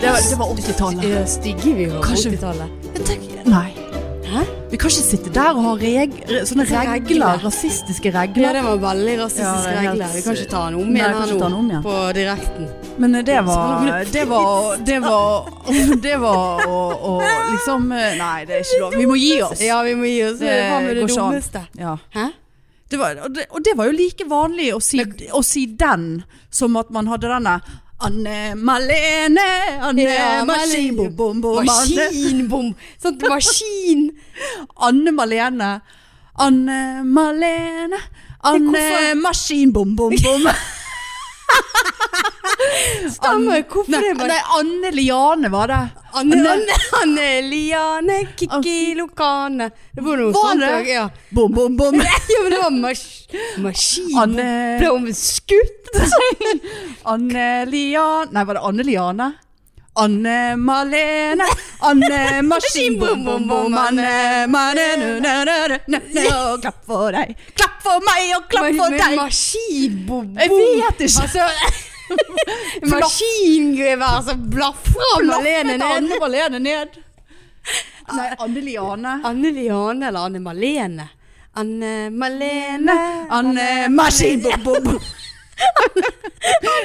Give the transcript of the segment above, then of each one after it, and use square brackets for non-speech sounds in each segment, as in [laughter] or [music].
det var 80-tallet. Ja, Stygge vi var på Kanskje- 80-tallet. Jeg tenker- Nei. Hæ? Vi kan ikke sitte der og ha reg re- sånne regler, Regler. rasistiske Ja, regler. det var Ja, veldig det er rasistiske helt- regler. Vi kan ikke ta den om Nei, igjen vi kan ikke ta den her nå. om igjen. På direkten. Men eh, det var Det var Det var, [laughs] det var å, å liksom eh, Nei, det er ikke lov. Vi må gi oss. Ja, vi må gi oss. Det Det var med det går ikke an. dummeste. Ja. Hæ? Det var, og, det, og det var jo like vanlig å si, å si den som at man hadde denne Anne Malene, Anne Ja, Maskin, bom, Malene. bom, bom, Anne. Maskinbom! Sånt maskin! Anne Malene. Anne Malene. Anne Maskin, bom, bom, [laughs] bom. Stemmer. Hvorfor Nei, det er nei, Anne Liane var det. Anne, Anne, Anne Liane, Kikki Lokane. Det var noe Var sånt. det? også, Ja. [laughs] Bom, bom, bom. ja, men det var mas maskin. Anne- Sånn Ble hun [laughs] skutt? Anne Liane Nei, var det Anne Liane? Anne Malene, Anne Maskin, bom, bom, bom, Anne Malene, næ, næ, næ, næ, næ, og Klapp for deg, klapp for meg og klapp Men- for men deg. Maskinbom. Jeg vet ikke. [laughs] Altså, maskingevær som blafra Malene ned. Anne Malene ned. Nei, Anne Liane. Anne Liane eller Anne Malene? Anne Malene Anne Maskin, bom, bom, bom.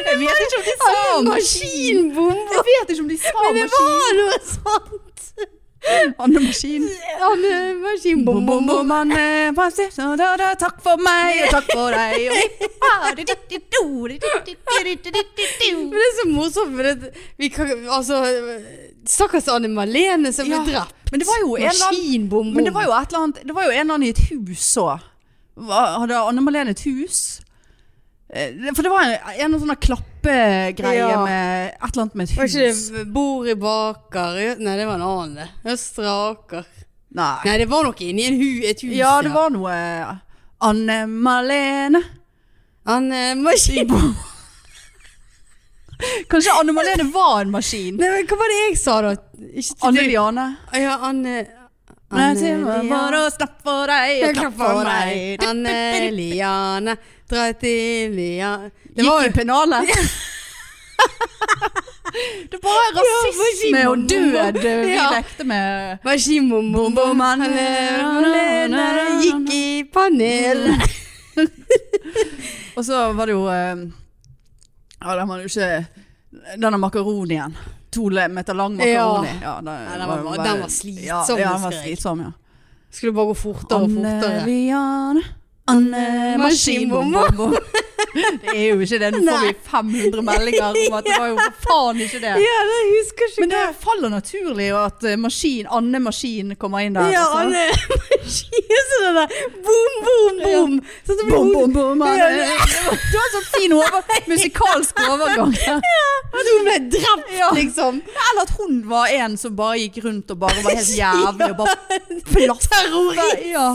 Jeg vet ikke om de sa Anne maskin. Maskinbom. Jeg vet ikke om de sa Men det maskin. var noe sånt. Anne Maskin. Anne Maskinbom. Bom, bom, bom, Anne. Hva sier du? Da, da, Takk for meg, og takk for deg. Og [laughs] Men det er så morsomt, for det, vi kan, altså, stakkars Anne Malene som Ja, ble drept. men det var jo en eller annen- Maskinbom. Men det var jo et eller annet Det var jo en eller annen i et hus òg. Hadde Anne Malene et hus? Eh, For det var en, en eller annen sånn der klappegreie Ja. med et eller annet med et Var hus. ikke det Bor i Baker? Nei, det var en annen det. Østre Aker. Nei. Nei, det var nok inni en hu, et hus. Ja, det var noe eh, Anne Malene Anne Maskinbom. Kanskje Anne Malene var en maskin? [laughs] Nei, men hva var det jeg sa da? Ikke til Anne du. Liane. Ja, eh, Anne... Nei, til meg Bare Liane. å snappe for deg og Klapp for meg. Anne Liane. Dra til Liane. Det var jo [laughs] pennalet. det var rasisme Ja, og død vi Ja. lekte med. Maskinbom, bom, bom, Anne Malene gikk i panel. Og så var det jo eh, Ja, den var jo ikke Denne makaronien. To le- meter lang makaroni. Ja, den, den jo var- bare- den var slitsom, Ja, ja, den var husker jeg. slitsom, ja. [laughs] Skulle bare gå fortere og fortere. Liane. Anne Maskinbom, bom, Maskinbom. Det er jo ikke det. Nå får vi 500 meldinger om at det var jo for faen ikke det. [laughs] Ja, det husker ikke Men det faller naturlig jo at eh, maskin, Anne Maskin kommer inn der. Ja, altså. Anne [laughs] Maskin, sånn den der boom, boom, boom. Sånn at det blir Bom, hodet- bom, bom, Anne. Ja, Det var det var en sånn fin [laughs] over, musikalsk overgang. der. At hun ble drept, Ja. liksom. Eller at hun var en som bare gikk rundt og bare var [laughs] helt jævlig og bare Terrorist. ja.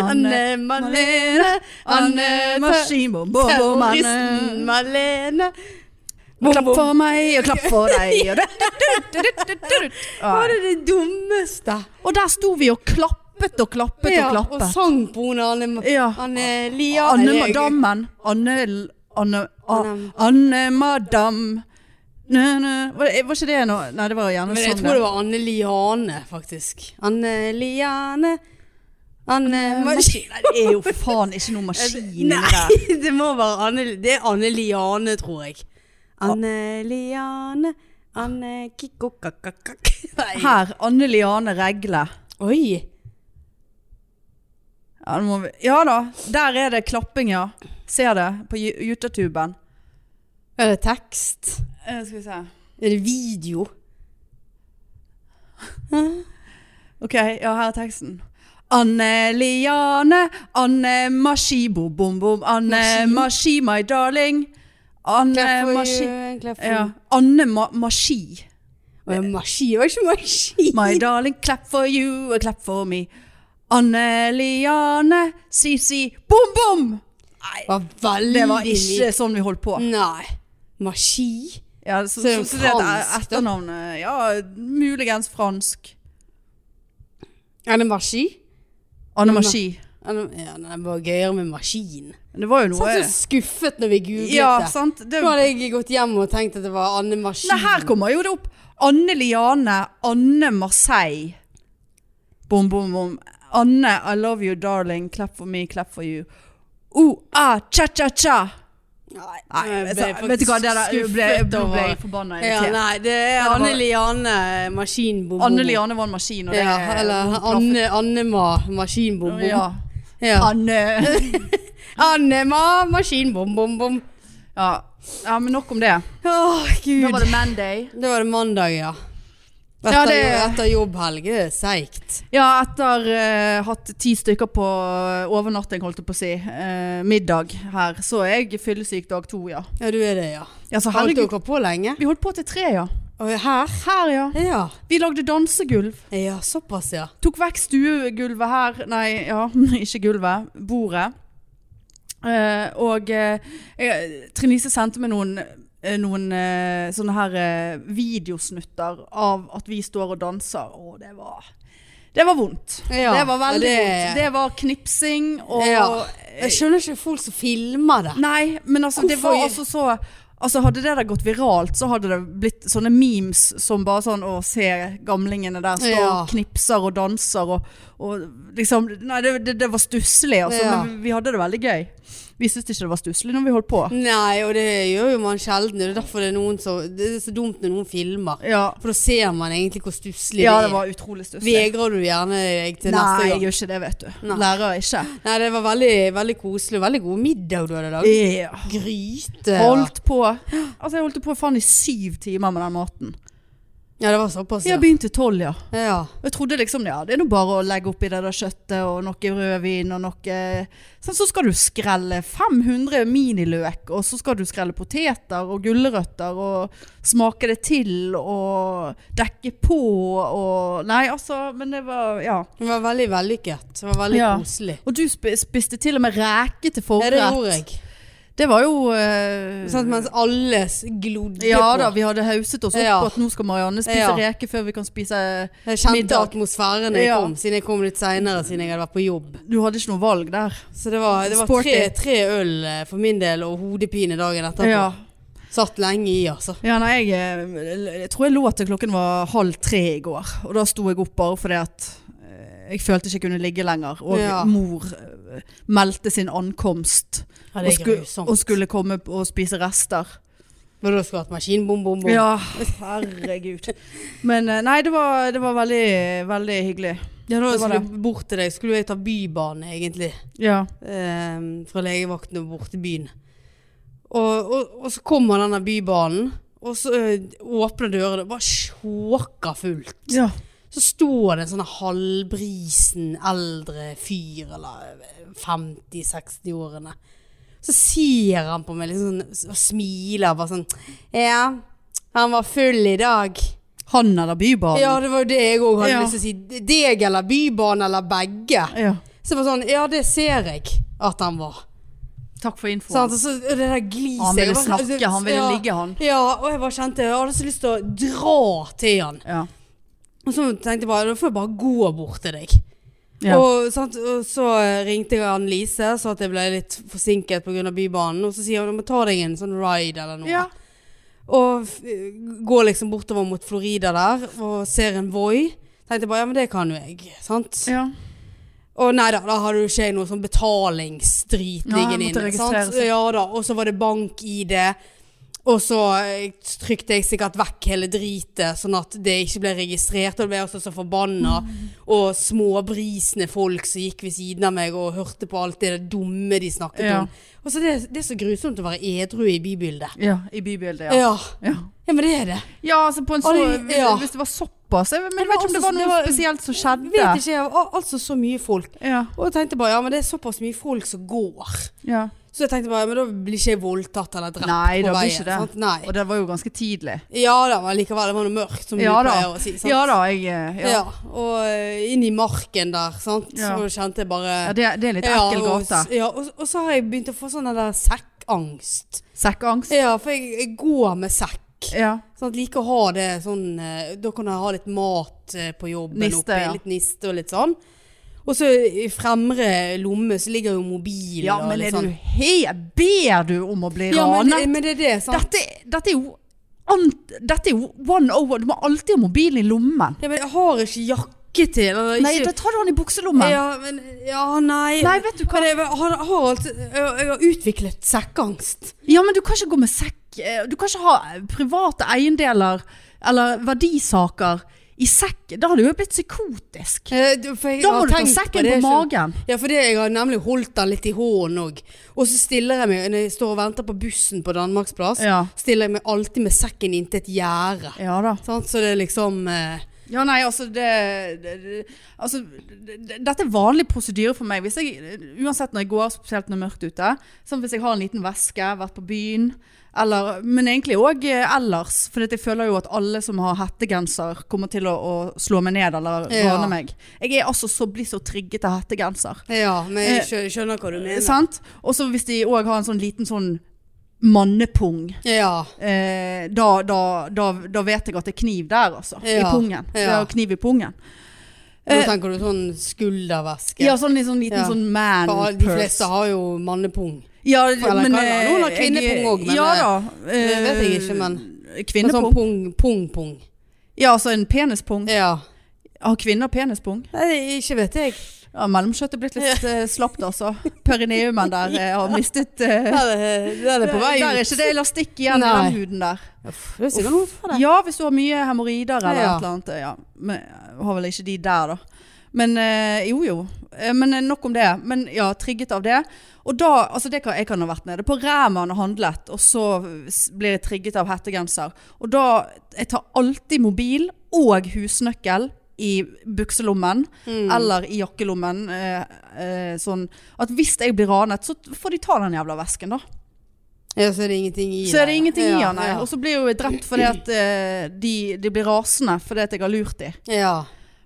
Anne Anne Malene, Anne Anne Maskin, Maskin, bom, bom, bom, Anne. terroristen Malene. Klapp for meg og klapp for [laughs] deg. og dutt, dutt, dutt, dutt, dutt, dutt. Ja. Var det det dummeste? Og der sto vi og klappet og klappet og Ja, og klappet. sang på henne Anne, Ma- Ja. Anne Lia. Anne Nei, det- Madammen. Anne Anne, Anne- Anne Madam. Nø, nø. Var, det- var ikke det noe Nei, det var gjerne Men jeg sånn. tror det var Anne Liane, faktisk. Anne Liane. Anne Maskin. Nei, det er jo faen ikke [laughs] noe maskin inni der. Nei, [laughs] det må være Anne Det er Anne Liane, tror jeg. Anne Liane Anne Kikko kakakak. Nei. Her. Anne Liane Regle. Oi. Ja, nå må vi, ja da. Der er det klapping, ja. Ser det på Ju- YouTube-tuben. Er det tekst? Eh, Skal vi se. Er det video? Ok, ja, her er teksten. Anne Liane, Anne Mashi, bom, bom, bom. Anne Mashi, my darling. Anne Mashi. Ja. Anne Ma Mashi. Maskin var ikke maskin. My darling, clap for you and clap for me. Anne Liane, Sisi, bom bom! Det var veldig Det var ikke sånn vi holdt på. Nei. Maskin? Ja, så, så, Mm. Så er det så det er fransk, da. etternavnet Ja, muligens fransk. Er det maskin? Anne Mashi. Eller- Ja, nei, det var gøyere med maskin. Det var jo Sånn noe så skuffet når vi googlet Ja, det. sant? Det, Nå hadde jeg gått hjem og tenkt at det var Anne Maskin. nei, her kommer jo det opp. Anne Liane, Anne Marseille. Bom, bom, bom. Anne, I love you, darling. Clap for me, clap for you. Oh, ah, cha-cha-cha. Nei, Nei, jeg jeg ble sa- vet du hva, det der jeg ble, jeg ble, skuffet ble over- forbanna ja, irritert. Nei, det er var- Anne Liane Maskinbom. Anne Liane var en maskin, og det Ja, eller Anne, Annema Maskinbom. Ja. Ja. Anne. Annema Maskinbom, bom, bom. Ja. ja, men nok om det. Åh, Da gud. var det Manday. Da var det mandag, ja. Etter, Ja, det- etter jobbhelg. Det er seigt. Ja, etter eh, hatt ti stykker på eh, overnatting, holdt jeg på å si, eh, middag her, så er jeg fyllesyk dag to, ja. Ja, du er det, ja. Ja, så Holdt herregud. dere på lenge? Vi holdt på til tre, ja. Og her? Her, ja. Ja. Vi lagde dansegulv. ja, såpass, ja. Tok vekk stuegulvet her Nei, ja, [laughs] ikke gulvet. Bordet. Eh, og eh, eh, Trinise sendte meg noen, eh, noen eh, sånne her eh, videosnutter av at vi står og danser. Og det var Det var vondt. Ja, det var veldig det- vondt. Det var knipsing og ja. Jeg skjønner ikke folk som filmer det. Nei, men altså det var Hvorfor- altså så Altså Hadde det der gått viralt, så hadde det blitt sånne memes som bare sånn Å, se gamlingene der står Ja. og knipser og danser og, og liksom Nei, det, det, det var stusslig, altså. Ja. Men vi- vi hadde det veldig gøy. Vi syntes ikke det var stusslig når vi holdt på. Nei, og det gjør jo man sjelden. Det er derfor det er noen som Det er så dumt når noen filmer. Ja, For da ser man egentlig hvor stusslig ja det det er. var utrolig stusslig. Vegrer du gjerne deg til Nei, neste jeg gang? gjør ikke det, vet du. Nei. Lærer ikke. Nei, det var veldig, veldig koselig. Veldig god middag du hadde lagd. Ja. Gryte. Holdt på Altså, jeg holdt på faen i syv timer med den maten. Ja, det var såpass, ja. Jeg begynte tolv, ja. ja. Og Jeg trodde liksom, ja, det er nå bare å legge oppi det der kjøttet og noe rødvin og noe sånn, Så skal du skrelle 500 miniløk, og så skal du skrelle poteter og gulrøtter og smake det til og dekke på og Nei, altså, men det var Ja. Det var veldig vellykket. Det var veldig Ja. koselig. Og du sp spiste til og med reke til Ja, forrett. det gjorde jeg. Det var jo eh, Sånn, mens alle s- glodde Ja på. da, vi hadde hauset oss opp Ja. på at nå skal Marianne spise Ja. reke før vi kan spise Jeg kjente middag. atmosfæren når jeg Ja. kom, siden jeg kom litt seinere, siden jeg hadde vært på jobb. Du hadde ikke noe valg der. Så det var, det var Sporty. tre, tre øl eh, for min del, og hodepine dagen etterpå. Ja. Satt lenge i, altså. Ja, nei, jeg, eh, jeg tror jeg lå til klokken var halv tre i går. Og da sto jeg opp bare fordi at eh, jeg følte ikke jeg kunne ligge lenger. Og Ja. mor eh, meldte sin ankomst. Ja, og, det er sku, grusomt. og skulle komme p- og spise rester. Men da skulle jeg hatt maskinbom-bom-bom. Ja, [laughs] herregud. Men eh, nei, det var, det var veldig, veldig hyggelig. Ja, da Det var skulle jeg bort til deg. Skulle jeg ta Bybanen, egentlig. Ja. Ehm, fra legevakten og bort til byen. Og, og, og så kommer denne bybanen, og så eh, åpner dørene. Det var sjåka fullt. ja. Så står det en sånn halvbrisen eldre fyr, eller 50-60-årene. Så ser han på meg liksom sånn, og smiler bare sånn Ja, han var full i dag. Han eller Bybanen. Ja, det var jo det jeg òg hadde Ja. lyst til å si. Deg eller Bybanen eller begge. Ja. Så det var sånn Ja, det ser jeg at han var. Takk for Så han, infoen. så, og det der gliset Han ville jeg bare- snakke, han ville ligge, han. Ja, og jeg bare kjente Jeg hadde så lyst til å dra til han. Ja. Og så tenkte jeg bare, da får jeg bare gå bort til deg. Ja. Og, sant, og så ringte jeg Anne Lise, så at jeg ble litt forsinket pga. Bybanen. Og så sier hun du må ta deg en sånn ride eller noe. ja. Og f- går liksom bortover mot Florida der og ser en Voi. Tenkte jeg bare ja, men det kan jo jeg. Sant? ja. Og nei da, da hadde jo ikke jeg noe sånn betalingsdrit Nei, liggende måtte inne. registrere Sant? seg. Ja da, og så var det bank-ID. Og så eh, trykte jeg sikkert vekk hele dritet, sånn at det ikke ble registrert. Og da ble jeg også så forbanna. Og småbrisende folk som gikk ved siden av meg og hørte på alt det dumme de snakket Ja. om. Og så det, det er så grusomt å være edru i bybildet. ja. I bybildet, Ja. ja. ja. ja. men det er det. Ja, altså på en så, Alle- hvis- ja. Hvis det var såpass jeg- Men jeg var vet ikke om det også- var sånn- noe det var- spesielt som skjedde Vet ikke, jeg har al- altså så mye folk. Ja, Og jeg tenkte bare ja, men det er såpass mye folk som går. ja. Så jeg tenkte bare, men da blir ikke jeg voldtatt eller drept Nei, på da blir veien. ikke det. Sant? Nei. Og det var jo ganske tidlig Ja da, men likevel, det var noe mørkt, som Ja du da, pleier å si. Sant? ja, da jeg, eh, Ja. ja. Og eh, inn i marken der, sant. Ja. Så kjente jeg bare Ja, det, det er litt ekkel og, gate Ja, og, og så har jeg begynt å få sånn den der sekkangst. Sekkangst Ja, for jeg, jeg går med sekk. ja. Sånn at liker å ha det sånn eh, Da kan jeg ha litt mat eh, på jobben Niste, oppi. ja. Litt niste og litt sånn. Og så i fremre lomme så ligger jo mobilen ja, og men litt er sånn. du helt Ber du om å bli Ja, men, ranet? det- men det er det, sant. dette, dette er jo ant... Dette er jo 101. Du må alltid ha mobilen i lommen. Ja, men jeg har ikke jakke til. Nei, Eller, da ikke, tar du den i bukselommen. ja, men, ja, nei. Nei, vet du hva? Men jeg, har, har alltid, jeg, jeg har utviklet sekkangst. Ja, men du kan ikke gå med sekk eh, Du kan ikke ha eh, private eiendeler eller verdisaker i sekk. Da hadde du jo blitt psykotisk. Eh, du- for jeg Da har må du ta tenkt sekken det på selv. magen. Ja, for det, jeg har nemlig holdt den litt i hånden òg. Og så stiller jeg meg, når jeg står og venter på bussen på Danmarksplass, Ja. stiller jeg meg alltid med sekken inntil et gjerde. Ja da. Sant? Så det er liksom eh, Ja, nei, altså det, det, det Altså, det, det- dette er vanlig prosedyre for meg. Hvis jeg, uansett når jeg går, spesielt når det er mørkt ute. Sånn hvis jeg har en liten veske, vært på byen. Eller, men egentlig òg ellers. For jeg føler jo at alle som har hettegenser, kommer til å, å slå meg ned eller rane Ja. meg. Jeg er altså så, blir så trigget av hettegenser. Ja, men Eh, jeg skjø- skjønner hva du mener. Sant? Og så hvis de òg har en sånn liten sånn mannepung, Ja. eh, da, da, da, da vet jeg at det er kniv der, altså. I Ja, pungen. Det ja. er kniv i pungen. Nå Eh, tenker du sånn skulderveske. Ja, sånn, i sånn liten Ja. sånn man For alle- de fleste har jo mannepung. Ja, eller men kan det være noen har eh, kvinnepung også, men, Ja eh, da. Eh, det vet jeg ikke, Men Kvinnepung? Sånn pung, pung, pung. Ja, altså en penispung. Ja. Har kvinner penispung? Nei, ikke vet jeg. Ja, mellomkjøttet er blitt litt eh, slapt, altså. Perineumen der eh, har mistet [laughs] eh, Den er, den er på vei Der er ut. ikke det elastikk igjen i Nei. den huden der. Uff, Det er sikkert noe for det. Ja, hvis du har mye hemoroider eller Ja. et eller annet. Ja. Men, jeg har vel ikke de der, da. Men eh, jo, jo. Eh, Men eh, nok om det. Men ja, trigget av det. Og da, altså det kan, Jeg kan ha vært nede på Ræman og handlet, og så s- blir jeg trigget av hettegenser. Og da Jeg tar alltid mobil og husnøkkel i bukselommen Mm. eller i jakkelommen. eh, eh, sånn at hvis jeg blir ranet, så får de ta den jævla vesken, da. Ja, så er det ingenting i Så er det ingenting i Ja, han, nei. ja. Og så blir jo jeg drept fordi at eh, de, de blir rasende fordi at jeg har lurt dem. Ja.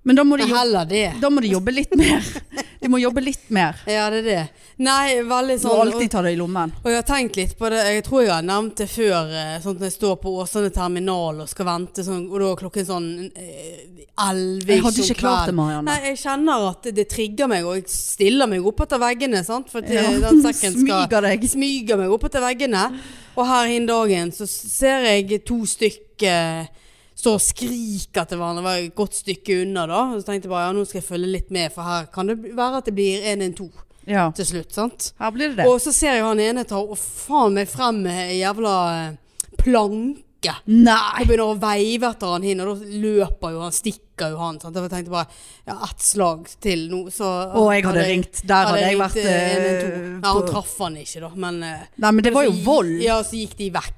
Men da må, de Men jobbe, heller det. da må de jobbe litt mer. [laughs] De må jobbe litt mer. Ja, det er det. Nei, veldig Du må [laughs] sånn alltid ta det i lommen. Og jeg har tenkt litt på det, jeg tror jeg har nevnt det før, eh, sånn at jeg står på Åsane terminal og skal vente, sånn, og da er klokken sånn elleve Jeg hadde ikke klart det, Marianne. Nei, jeg kjenner at det trigger meg, og jeg stiller meg opp etter veggene, sant? For at Ja, eh, [laughs] den sekken skal smyger deg. Jeg smyger meg opp etter veggene. Og her innen dagen så ser jeg to stykker stå og skrike til hverandre. Det var et godt stykke unna da. Og så tenkte jeg bare ja, nå skal jeg følge litt med, for her kan det være at det blir 112 Ja. til slutt. sant? Her blir det det. Og så ser jeg han ene ta og faen meg frem med en jævla eh, planke. Nei! Og begynner å veive etter han hin, og da løper jo han, stikker jo han. Sant? Jeg tenkte bare ja, ett slag til nå, så Å, jeg hadde ringt. Der hadde jeg vært eh, Nei, han på- traff han ikke, da, men eh, Nei, men det var jo så gi- vold. Ja, så gikk de vekk.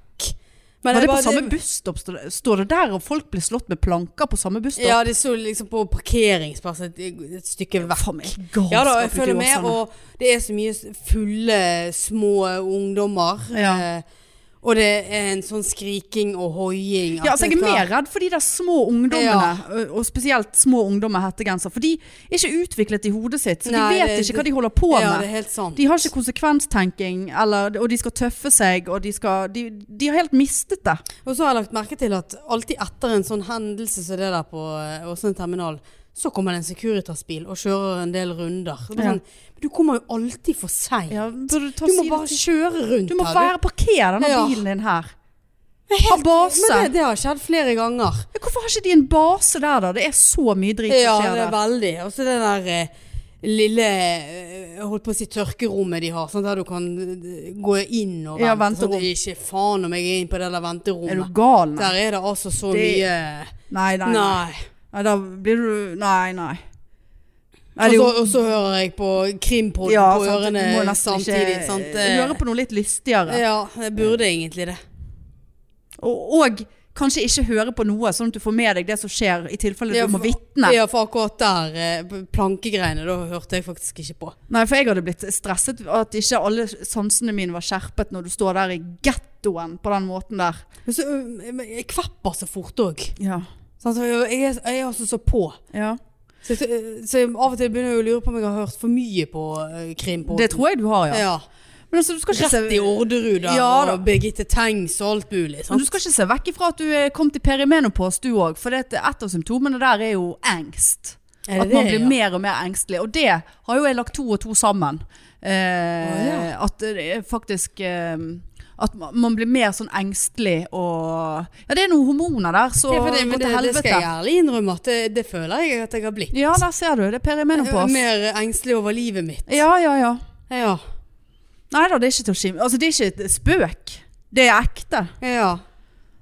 Men Var jeg det på bare- samme busstopp? Står det- Står det der og folk blir slått med planker på samme busstopp? Ja, de så liksom på parkeringsplass et, et stykke vekk. Faen meg Ja da, galskap ute i jeg følger med, Åsane. og det er så mye s- fulle, små ungdommer. Ja. eh, Og det er en sånn skriking og hoiing. at Ja, altså det jeg er skal- mer redd for de der små ungdommene, og- og spesielt små ungdommer med hettegenser. For de er ikke utviklet i hodet sitt, så Nei, de vet det- ikke hva de holder på Ja, det er med. helt sant. De har ikke konsekvenstenking, eller, og de skal tøffe seg, og de, skal, de, de har helt mistet det. Og så har jeg lagt merke til at alltid etter en sånn hendelse som det der på eh, Åsane terminal, så kommer det en Securitas-bil og kjører en del runder. Det er Ja. Sånn, men du kommer jo alltid for seint. du, Du må bare kjøre rundt du må her. være parkere denne Ja. bilen din her. helt- Ha base. Men det, det har skjedd flere ganger. Ja, Hvorfor har ikke de en base der, da? Det er så mye drit som Ja, det skjer der. er veldig. Og så det der eh, lille eh, jeg holdt på å si tørkerommet de har, sånn der du kan eh, gå inn og vente. Ja, sånn, venterom. ikke faen om jeg er inne på det der Er du venterommet. gal? Nei, Der er det altså så Det- mye nei. nei, nei. Nei. nei da blir du Nei, nei. Nei, Og det er så, jo- og så hører jeg på krimpodden på sant, ørene du må nesten ikke samtidig. sant? Høre på noe litt lystigere. Ja, jeg burde egentlig det. Og, og kanskje ikke høre på noe, sånn at du får med deg det som skjer, i tilfelle Ja, du må for- vitne. Ja, for akkurat der, eh, p- plankegreiene, da hørte jeg faktisk ikke på. Nei, for jeg hadde blitt stresset at ikke alle sansene mine var skjerpet når du står der i gettoen på den måten der. Men så, eh, men jeg kvepper så fort òg. Ja. Jeg, jeg, er- jeg er altså så på. ja. Så, så, så jeg av og til begynner jeg å lure på om jeg har hørt for mye på eh, krim på. Det tror jeg du har, ja. ja. Men altså, du skal ikke Rett i se... Orderud der, Ja, da. og Birgitte Tengs og alt mulig. Men Sant? du skal ikke se vekk ifra at du er kommet i perimenopause du òg, for det at et av symptomene der er jo angst. Er det at man det, blir ja? mer og mer engstelig. Og det har jo jeg lagt to og to sammen. Eh, Å, At det er faktisk eh, At ma- man blir mer sånn engstelig og Ja, det er noen hormoner der, så Ja, for det, gå men det, til det skal jeg helvete. ærlig innrømme at det, det føler jeg at jeg har blitt. Ja, der ser du. Det er perimenopause. Mer engstelig over livet mitt. Ja, ja, ja. Ja. Nei da, det er ikke til å skime. Altså, det er ikke et spøk. Det er ekte. ja.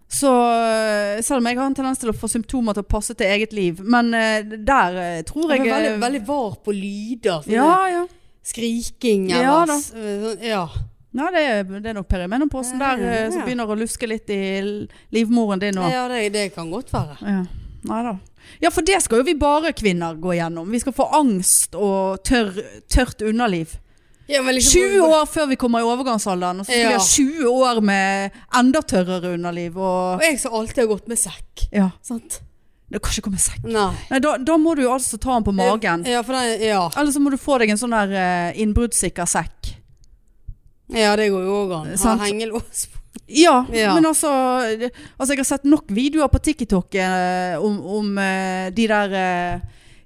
Så øh, selv om jeg har en tendens til å få symptomer til å passe til eget liv, men øh, der øh, tror Jeg jeg er veldig, øh, veldig var på lyder. sånne Ja, ja. Skriking eller Ja da. s- sånn, ja. Nei, det, er- det er nok perimenoposen der øh, Ja. som begynner å luske litt i l- livmoren din og ja. ja det, det kan godt være. Nei da. Ja, for det skal jo vi bare kvinner gå gjennom. Vi skal få angst og tørr, tørt underliv. Ja, men liksom- 20 år før vi kommer i overgangsalderen, og så skal vi Ja. ha 20 år med enda tørrere underliv og Og jeg som alltid har gått med sekk. Ja. Sant? Det kan ikke komme sekk. Nei. Nei, da, da må du jo altså ta den på magen. Ja, for den, ja. Eller så må du få deg en sånn der eh, innbruddssikker sekk. ja, det går jo òg an. Ha Sant. hengelås på. Ja, Ja. men altså, det- altså Jeg har sett nok videoer på TikTok eh, om, om eh, de der eh,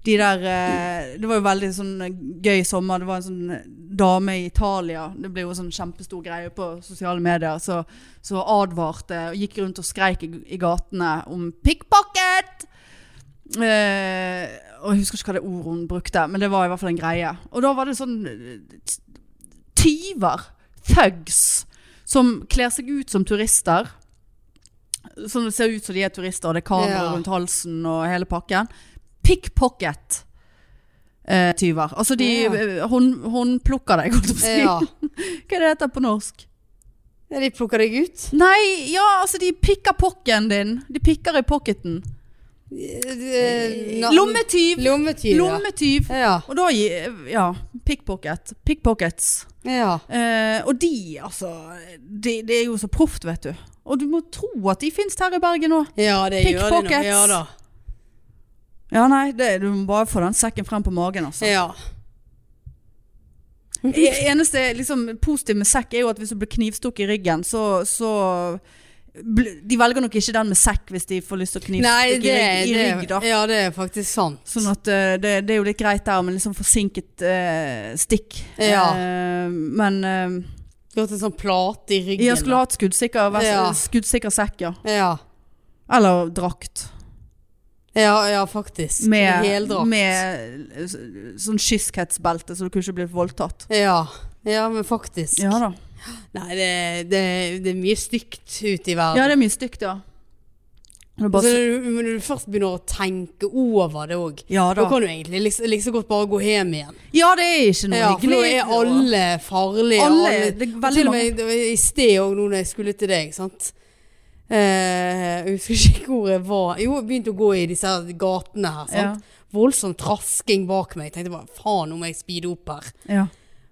de der, eh, Det var jo veldig sånn gøy sommer. Det var en sånn dame i Italia. Det ble jo sånn kjempestor greie på sosiale medier. Så, så advarte og gikk rundt og skreik i, i gatene om 'pickpocket'! Eh, og jeg husker ikke hva det ordet hun brukte, men det var i hvert fall en greie. Og da var det sånn eh, t- tyver, thugs, som kler seg ut som turister. Som det ser ut som de er turister, og det er kamera Ja. rundt halsen og hele pakken. Pickpocket. eh, tyver. Altså de Ja. eh, hånd- håndplukker deg, holdt jeg på å si. Ja. [laughs] Hva er det det heter på norsk? Ja, De plukker deg ut. Nei, ja, altså de pikker pokken din. De pikker i pocketen. Eh, na- Lommetyv! Lommetyv. ja. Lommetyv! Ja. Og da gi- Ja, pickpocket. Pickpockets. ja. Eh, og de, altså Det de er jo så proft, vet du. Og du må tro at de finnes her i Bergen òg. Ja, det gjør de nå. Pickpockets. Ja da. Ja, nei, det, du må bare få den sekken frem på magen, altså. Ja. E- Eneste liksom, positive med sekk er jo at hvis du blir knivstukket i ryggen, så, så bl- De velger nok ikke den med sekk hvis de får lyst til å Nei, knivstikke i, det, rygg- i rygg, da. det, ja, det er faktisk sant. Sånn at eh, det, det er jo litt greit der med liksom forsinket eh, stikk. Ja. Eh, men eh, Du har hatt en sånn plate i ryggen. jeg skulle hatt skuddsikker, vers- Ja. skuddsikker sekk, ja. da. ja. Eller drakt. Ja, ja, faktisk. Med, Heldrakt. med eh, sånn kyskhetsbelte, så du kunne ikke blitt voldtatt. Ja. ja, men faktisk. Ja da. Nei, det, det, det er mye stygt ute i Ja, verden. det er mye stygt, ja. Det er bare Så så- når du, når du først begynner å tenke over det òg, Ja da da. kan du egentlig liksom, like så godt bare gå hjem igjen. Ja, det er ikke noe Ja, for nå er hyggelig. alle farlige. Alle, det er veldig til og med i sted òg, nå når jeg skulle til deg, sant. Eh, jeg husker ikke hvor jeg var Jo, jeg begynte å gå i disse her gatene her. Ja. Sant? Voldsom trasking bak meg. Jeg tenkte bare faen, nå må jeg speede opp her. Ja.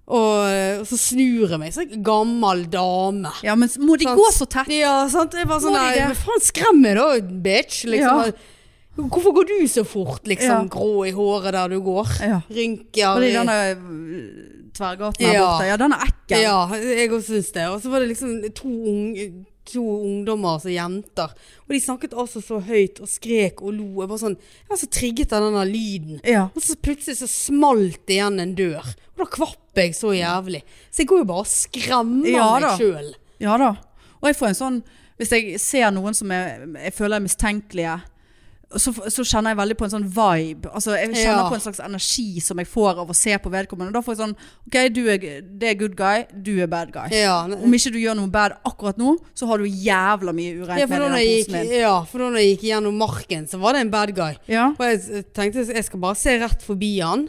Og, og så snur jeg meg, så er jeg en gammel dame. ja, men må de Sant? gå så tett? Ja, sant. Jeg var sånn Må de der, det? Hva faen skremmer da, bitch? Liksom. Ja. Hvorfor går du så fort, Ja. liksom? Grå i håret der du går. Ja. Rynker. Fordi i- denne øh, tverrgaten her Ja. borte, ja, den er ekkel. Ja, jeg også syns det. Og så var det liksom to, ung, to ungdommer, altså jenter. Og de snakket altså så høyt og skrek og lo. Jeg var sånn, jeg var så trigget av den der lyden. Ja. Og så plutselig så smalt det igjen en dør. Og da kvapp jeg så jævlig. Så jeg går jo bare og skremmer Ja, da. meg sjøl. Ja da. Og jeg får en sånn Hvis jeg ser noen som jeg, jeg føler er mistenkelige, så, så kjenner jeg veldig på en sånn vibe. Altså, jeg kjenner Ja. på en slags energi som jeg får av å se på vedkommende. Og da får jeg sånn OK, du er, det er good guy, du er bad guy. Ja, Om ikke du gjør noe bad akkurat nå, så har du jævla mye ja, ureint for da med når i jeg den gikk, posen din. ja, for da når jeg gikk gjennom marken, så var det en bad guy. Ja. Og jeg s- tenkte jeg skal bare se rett forbi han.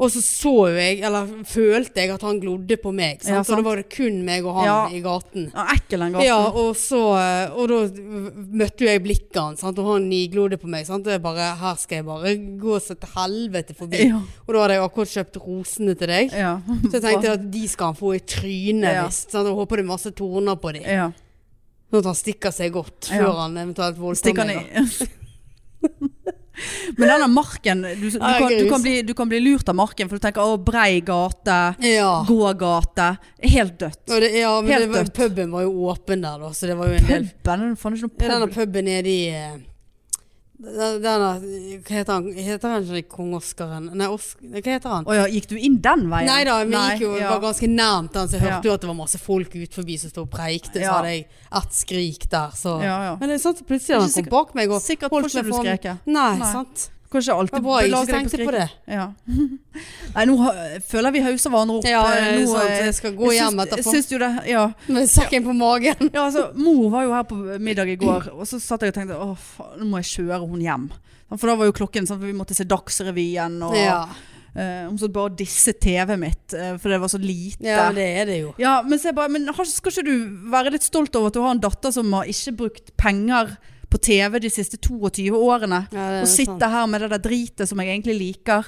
Og så så jo jeg, eller følte jeg at han glodde på meg. Sant? Ja, Og sant. da var det kun meg og han Ja. i gaten. Ja, ekkel den gaten. Ja, og så eh, Og da møtte jo jeg blikket hans, sant? og han niglodde på meg. Sant? Og jeg bare Her skal jeg bare gå så til helvete forbi. Ja. Og da hadde jeg akkurat kjøpt rosene til deg. Ja. Så jeg tenkte at de skal han få i trynet Ja. visst. sant? Og håper det er masse torner på dem. [laughs] ja. Sånn at han stikker seg godt før Ja. han eventuelt voldtar Stikker den meg. da. i [laughs] Men denne marken du, du, Ja, kan, du, grus. kan bli, du kan bli lurt av marken, for du tenker 'å, brei gate'. Ja. gågate. Helt dødt. Og det, ja, men Helt det var, dødt. puben var jo åpen der, da, så det var jo en del Puben? er det faen ikke noe Ja, denne pub. puben nede i eh, Den den der Hva heter han? Heter han ikke Kong Oskaren? Nei, Osk hva heter han? Å ja, gikk du inn den veien? Nei da, vi gikk jo ja. var ganske nærmt den, så jeg Ja. hørte jo at det var masse folk ut forbi som stod og preikte. Så Ja. hadde jeg ett skrik der, så Ja, ja. Men det er sant, plutselig hadde han Ikke kommet bak meg og Sikkert holdt får ikke meg du foran- skreket. Nei, Nei. sant. Kanskje alltid Det var bra jeg belager ikke deg på tenkte på det. Ja. [laughs] Nei, nå har- føler vi hauser hverandre opp. Ja, Eh, nå, sant, eh, jeg skal gå jeg syns- hjem etterpå. Syns du det? Ja. [laughs] Med sekken på magen. Ja, altså, mor var jo her på middag i går, og så satt jeg og tenkte Åh, faen, nå må jeg kjøre hun hjem. Sånn, For da var jo klokken sånn, for vi måtte se Dagsrevyen, og Ja. eh, hun satt bare og disset TV-et mitt, eh, for det var så lite. ja, men det er det jo. Ja, men så jeg bare, men har, skal ikke du være litt stolt over at du har en datter som har ikke brukt penger på TV de siste 22 årene? Ja, det er Og sant. sitte her med det der dritet som jeg egentlig liker.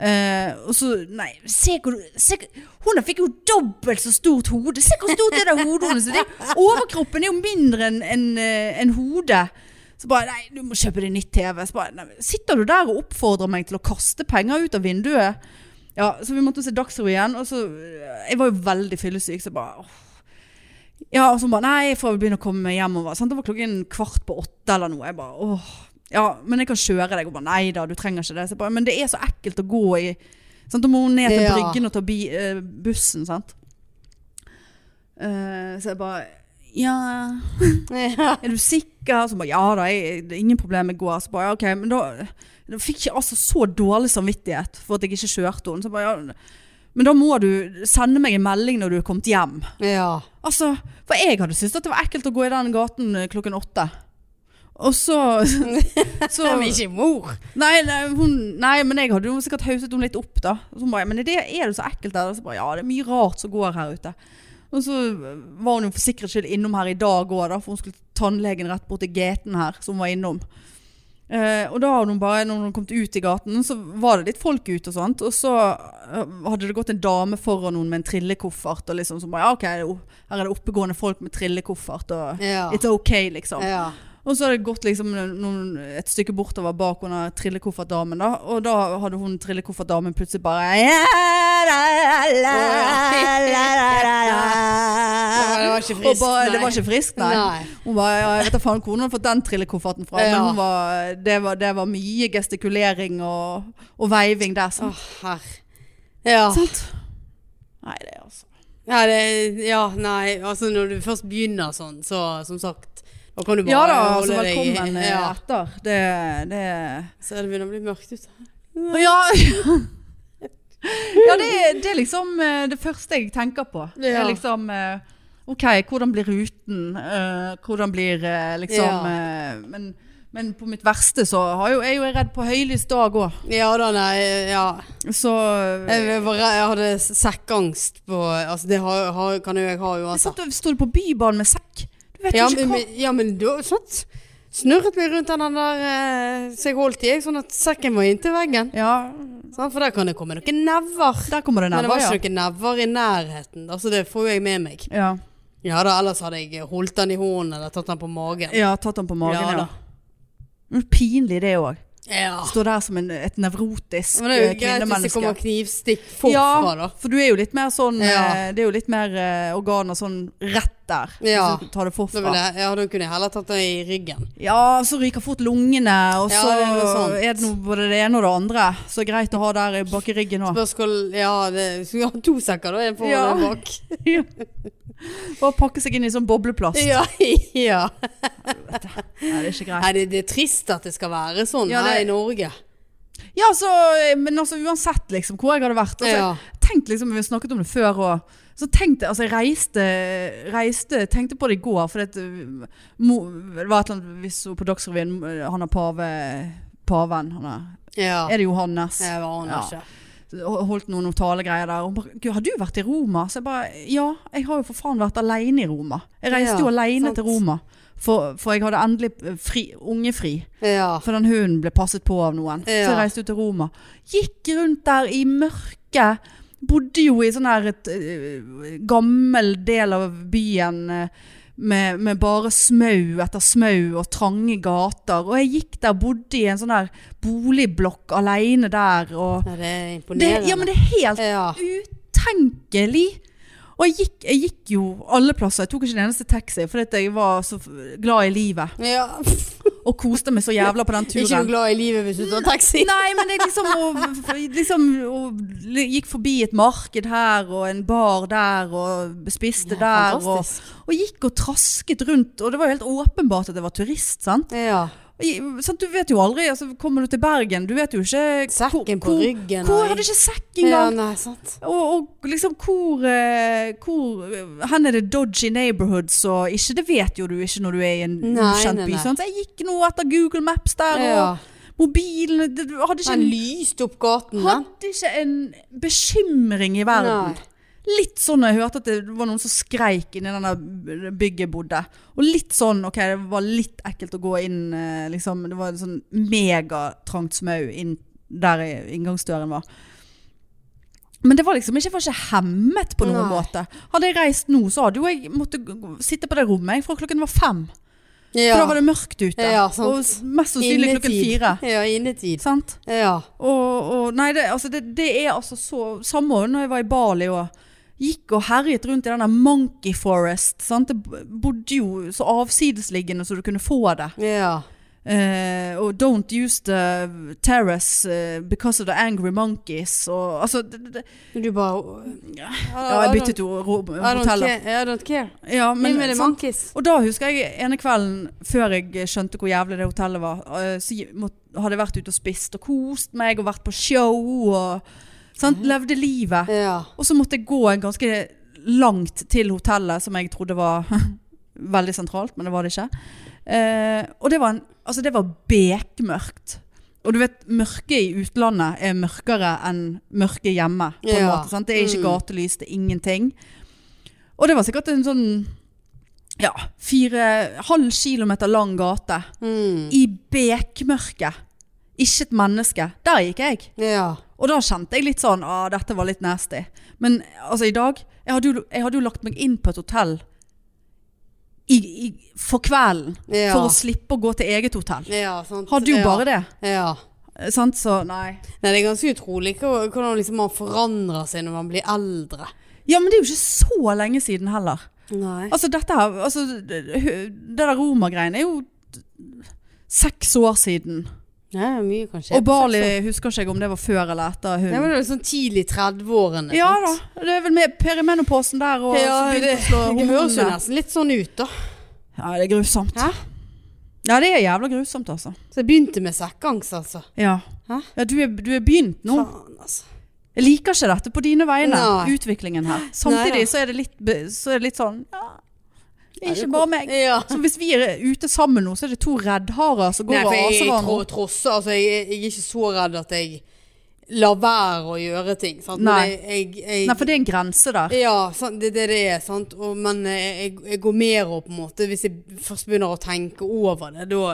Eh, og så Nei, se hvor se, Hun der fikk jo dobbelt så stort hode. Se hvor stort det der hodet hennes er. Det- Overkroppen er jo mindre enn enn, eh, enn hodet. Så bare Nei, du må kjøpe deg nytt TV. Så bare, nei, sitter du der og oppfordrer meg til å kaste penger ut av vinduet? Ja, så vi måtte se Dagsrevyen, og så eh, Jeg var jo veldig fyllesyk, så jeg bare åh. Ja, og så bare Nei, jeg får vel begynne å komme meg hjemover. Sant? Det var klokken kvart på åtte eller noe. Jeg bare åh. Ja, men jeg kan kjøre deg. Og bare nei da, du trenger ikke det. Så jeg bare, men det er så ekkelt å gå i sant? Da må hun ned til Ja. Bryggen og ta bi, eh, bussen, sant. Eh, så jeg bare Ja, Ja. er du sikker? Så hun bare ja da, jeg, det er ingen problem, jeg går. Så bare ja, ok, men da, da fikk jeg altså så dårlig samvittighet for at jeg ikke kjørte henne. Så jeg bare ja, men da må du sende meg en melding når du er kommet hjem. ja. Altså, for jeg hadde syntes at det var ekkelt å gå i den gaten eh, klokken åtte. Og så, [laughs] så Men ikke mor. nei, nei, hun, nei, men jeg hadde jo sikkert hauset henne litt opp da. Og Så hun bare, men er det, er det så ekkelt der? Og så bare, ja, det er mye rart som går her ute. Og så var hun jo for sikkerhets skyld innom her i dag òg, da, for hun skulle til tannlegen rett bort til gaten her, som hun var innom. Eh, og da hadde hun bare, når hun kom ut i gaten, så var det litt folk ute og sånt. Og så eh, hadde det gått en dame foran henne med en trillekoffert, og liksom som bare, ja, ok, det er jo- her er det oppegående folk med trillekoffert, og Ja. Eh, it's ok, liksom. Ja. Og så hadde det gått liksom noen, et stykke bortover bak hun der trillekoffertdamen da, og da hadde hun trillekoffertdamen plutselig bare Det var ikke Og frisk, bare, nei. Det var ikke frisk, nei. Nei. Hun bare, ja, jeg vet da faen hvor hun hadde fått den trillekofferten fra, Ja. men hun var, det, var, det var mye gestikulering og, og veiving der. Å, Sånn. herr. Ja. Sant? Nei, det er altså. Ja, det, ja, nei, altså når du først begynner sånn, så som sagt Da kan du bare Ja da, altså holde deg i- velkommen eh, Ja. etter. Det, det Så det begynner å bli mørkt ute. Ja, [laughs] ja det, er- det er liksom eh, det første jeg tenker på. Det Ja. er liksom eh, OK, hvordan blir ruten? Eh, Hvordan blir eh, liksom eh, men, men på mitt verste så har jo, er jo jeg redd på høylys dag òg. Ja da, nei, ja. Så eh, Jeg, jeg, var, redd- jeg hadde sekkangst på Altså det har, har, kan jo jeg ha uansett. satt du, Står du på Bybanen med sekk? sånn Du vet altså. jo Ja, ikke men- hva men- ja, men da sant? Snurret meg rundt den der eh, så jeg holdt i, jeg, sånn at sekken var inntil veggen. Ja, Sant? For der kan det komme noen never. der kommer det Men det var never, ja. ikke noen never i nærheten. Altså det får jo jeg med meg. ja. Ja da, ellers hadde jeg holdt den i hånden eller tatt den på magen. Ja, tatt den på magen, Ja da. ja. Men Pinlig det òg. Ja. Står der som en, et nevrotisk Men det er eh, jo greit hvis det kvinnemenneske. kommer knivstikk forfra, da. for du er jo litt mer sånn Ja. eh, Det er jo litt mer eh, organer sånn rett der. Ja. Hvis du tar det Da, vil forfra. jeg, ja, da kunne jeg heller tatt det i ryggen. Ja, så ryker fort lungene, og Ja, så det er noe er, sånt. det noe både det ene og det andre. Så greit å ha der i- bak i ryggen òg. Spørsmål Ja, det, skulle ha to sekker, da. En foran Ja. og en [laughs] bak. [laughs] Bare pakke seg inn i sånn bobleplast. Ja, [laughs] ja. Nei, det er ikke greit. Nei, det, det er trist at det skal være sånn Ja, det- her i Norge. Ja, så, men altså uansett liksom hvor jeg hadde vært. Altså, Ja. Tenk liksom, Vi har snakket om det før òg. Så tenkte, altså jeg reiste, reiste Tenkte på det i går. For det, det var et eller annet vi så på Dagsrevyen. øh, Han er pave, paven. Han er, Ja. er det Johannes? Jeg aner Ja. ikke. Holdt noen talegreier der. Og hun bare, Gud, har du vært i Roma? Så jeg bare Ja, jeg har jo for faen vært aleine i Roma. Jeg reiste Ja, jo aleine sant. til Roma. For, for jeg hadde endelig øh, fri, ungefri. Ja. For den hunden ble passet på av noen. Så Ja. jeg reiste ut til Roma. Gikk rundt der i mørket. Bodde jo i sånn her et øh, gammel del av byen øh, med, med bare smau etter smau og trange gater. Og jeg gikk der, bodde i en sånn her boligblokk aleine der. Og Nei, det er det, imponerende. ja, men det er helt ja. utenkelig. Og jeg gikk, jeg [laughs] gikk jo alle plasser. Jeg tok ikke en eneste taxi fordi at jeg var så f- glad i livet. Ja. og koste meg så jævla på den Er ikke du turen. glad i livet hvis du tar taxi? Nei, men jeg liksom, og, liksom og gikk forbi et marked her og en bar der og spiste der. Og, fantastisk. og gikk og trasket rundt. Og det var jo helt åpenbart at jeg var turist, sant? Ja. I- sant, du vet jo aldri, altså, kommer du til Bergen, du vet jo ikke Sekken på hvor- ryggen, Hvor nei. hadde ikke sekk ja, engang? nei, sant. Og, og liksom hvor, eh, hvor Hen er det dodgy neighborhoods og ikke Det vet jo du ikke når du er i en Nei, ukjent nei, by. nei. Sant? Så jeg gikk nå etter Google Maps der, Ja. og mobilen det- du Hadde ikke, Den en, lyste opp gaten, den. hadde ikke en bekymring i verden. Nei. Litt sånn når jeg hørte at det var noen som skreik inni den der bygget jeg bodde. Og litt sånn, ok, det var litt ekkelt å gå inn, eh, liksom. Det var en sånn megatrangt smau inn der i- inngangsdøren var. Men det var liksom ikke, jeg var ikke hemmet på noen Nei. måte. Hadde jeg reist nå, så hadde jo jeg måttet g- g- sitte på det rommet jeg, fra klokken var fem. Ja. For da var det mørkt ute. Ja, sant. Og s- mest sannsynlig klokken Innetid. fire. Ja, innetid. Sant? Ja. Og, og nei, det, altså det, det er altså så Samme år når jeg var i Bali og gikk og herjet rundt i denne Monkey Forest. Sant? Det b- bodde jo så avsidesliggende så du kunne få det. Ja. Eh, og don't use the terrace eh, because of the angry monkeys. Og, altså, det, det- det, Men du bare ja, jeg byttet jo ro- I don't hoteller. care. I don't care. Ja, Men, men, med det sant? monkeys. Og da husker jeg ene kvelden før jeg skjønte hvor jævlig det hotellet var, eh, så gi- må- hadde jeg vært ute og spist og kost meg og vært på show og sant? Mm. levde livet. Ja. Og så måtte jeg gå en ganske langt til hotellet, som jeg trodde var [laughs] veldig sentralt, men det var det ikke. Eh, og det var, en, altså det var bekmørkt. Og du vet, mørket i utlandet er mørkere enn mørket hjemme. På en Ja. måte, sant? Det er ikke Mm. gatelys, det er ingenting. Og det var sikkert en sånn ja, fire, halv kilometer lang gate. Mm. I bekmørket. Ikke et menneske. Der gikk jeg. Ja. Og da kjente jeg litt sånn, ah, dette var litt nasty. Men altså i dag, jeg hadde jo, jeg hadde jo lagt meg inn på et hotell i, i, for kvelden. Ja. For å slippe å gå til eget hotell. Ja, sant. Hadde jo ja. bare det. Ja. Eh, Sant, så nei. Nei, det er ganske utrolig hva- hvordan liksom man forandrer seg når man blir eldre. Ja, men det er jo ikke så lenge siden heller. Nei. Altså dette her, altså det det der romergreiene er jo seks år siden. Nei, det er mye kan skje. Og Bali husker ikke jeg om det var før eller etter Det var hun. jo sånn tidlig 30-årene. Ja da, sant? det er vel med perimenoposen der og Ja, så begynte det, å slå [laughs] det høres jo hormonene. nesten litt sånn ut, da. Ja, det er grusomt. Hæ? Ja, det er jævla grusomt, altså. Så jeg begynte med sekkangst, altså. Ja, Hæ? ja du, er, du er begynt nå. Faen, altså. Jeg liker ikke dette på dine vegne, Nei. utviklingen her. Samtidig Neida. så er, det litt, be- så er det litt sånn Ja, det er Ja, ikke det bare kom- meg. Ja. Så hvis vi er ute sammen nå, så er det to reddharer som går Nei, for og jeg, aser jeg tror hverandre. tross altså, jeg, jeg er ikke så redd at jeg lar være å gjøre ting. Sant? Men Nei. Jeg, jeg, jeg, Nei, for det er en grense der. Ja, sant, det er det det er. Sant? Og, men eh, jeg, jeg går mer opp, på en måte, hvis jeg først begynner å tenke over det. Da,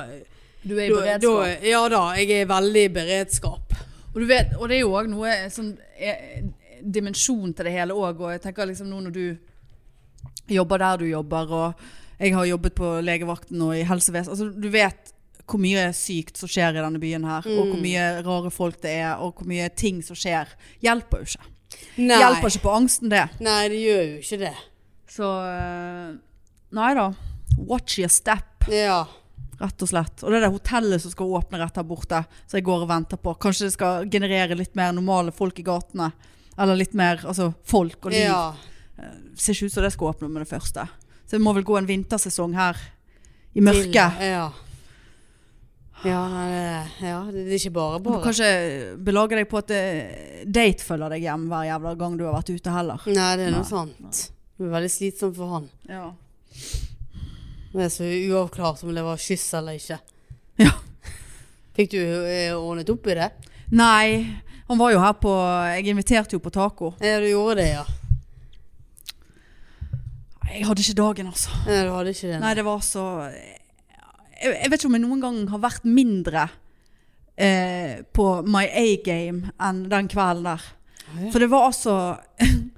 Du er da, da Ja da, jeg er veldig i beredskap. Og, du vet, og det er jo òg noe sånn eh, dimensjon til det hele òg. Og jeg tenker liksom nå når du jobber der du jobber, og jeg har jobbet på legevakten og i helsevesenet altså, Du vet hvor mye sykt som skjer i denne byen her, og hvor mye rare folk det er, og hvor mye ting som skjer. Hjelper jo ikke. Nei. Hjelper ikke på angsten, det. Nei, det gjør jo ikke det. Så eh, Nei da. Watch your step, Ja. rett og slett. Og det er det hotellet som skal åpne rett her borte, så jeg går og venter på. Kanskje det skal generere litt mer normale folk i gatene. Eller litt mer altså, folk og liv. ja. Ser ikke ut som det skal åpne med det første. Så det må vel gå en vintersesong her i Til- eh, mørket. Ja. Ja, nei, det- ja, det det er ikke bare Du bare. kan ikke belage deg på at eh, date følger deg hjem hver jævla gang du har vært ute heller. Nei, det er Nei, noe sant. Det er veldig slitsomt for han. Ja. Det er så uavklart om det var kyss eller ikke. [laughs] Ja. Fikk du eh, ordnet opp i det? Nei, han var jo her på Jeg inviterte jo på taco. Ja, du gjorde det, ja. Jeg hadde ikke dagen, altså. Nei, du hadde ikke det. Nei, det var så jeg, jeg vet ikke om jeg noen gang har vært mindre eh, på my A-game enn den kvelden der. Ah, ja. For det var altså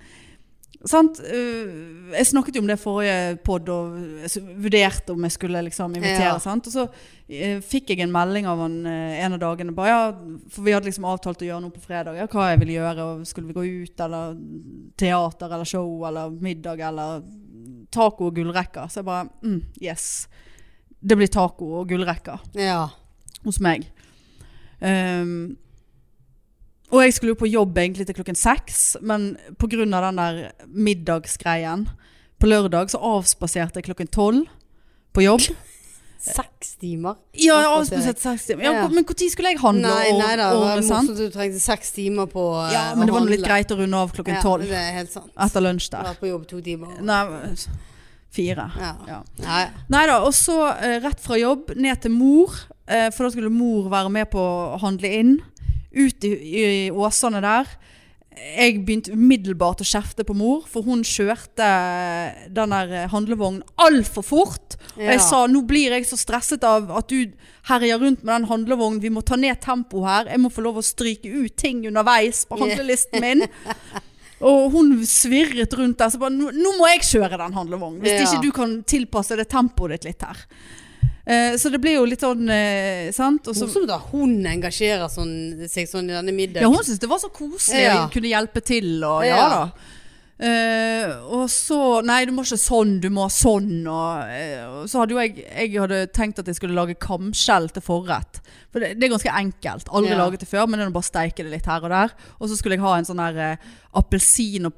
[laughs] Sant? eh, jeg snakket jo om det i forrige pod og s- vurderte om jeg skulle liksom invitere. Ja. Sant? Og så eh, fikk jeg en melding av han eh, en av dagene. Bare, ja, for vi hadde liksom avtalt å gjøre noe på fredag. Ja, hva jeg ville gjøre. Og skulle vi gå ut, eller teater, eller show, eller middag, eller taco og gullrekker. Så jeg bare mm, Yes. det blir taco og gullrekker Ja. hos meg. Ehm, og jeg skulle jo på jobb egentlig til klokken seks, men pga. den der middagsgreien på lørdag så avspaserte jeg klokken tolv på jobb. [laughs] Seks timer? Ja, jeg Avspasering. avspaserte seks timer. Ja, Ja. Men når skulle jeg handle? Nei, og- nei da, det og- var sant? morsomt at du trengte seks timer på eh, Ja, men det var å nå litt handle. greit å runde av klokken Ja, tolv det er helt sant. etter lunsj der. Vært på jobb to timer. Nei, fire. Ja. Ja. Nei. Nei da, og så eh, rett fra jobb ned til mor, eh, for da skulle mor være med på å handle inn. Ut i, i åsene der. Jeg begynte umiddelbart å kjefte på mor, for hun kjørte den der eh, handlevognen altfor fort. Og Ja. jeg sa nå blir jeg så stresset av at du herjer rundt med den handlevognen, vi må ta ned tempoet her. Jeg må få lov å stryke ut ting underveis på handlelisten min. [laughs] Og hun svirret rundt der, så bare Nå nå må jeg kjøre den handlevognen! Hvis Ja. ikke du kan tilpasse det tempoet ditt litt her. Eh, så det blir jo litt sånn eh, Sant? Og så, Morsomt at hun engasjerer sånn, seg sånn i denne middagen. ja, hun syntes det var så koselig Ja. å kunne hjelpe til og ja, Ja. da. Eh, og så Nei, du må ikke sånn, du må sånn. Og, eh, og så hadde jo jeg Jeg hadde tenkt at jeg skulle lage kamskjell til forrett. For det, det er ganske enkelt. Aldri Ja. laget det før, men det er bare å steike det litt her og der. Og så skulle jeg ha en sånn her eh, appelsin- og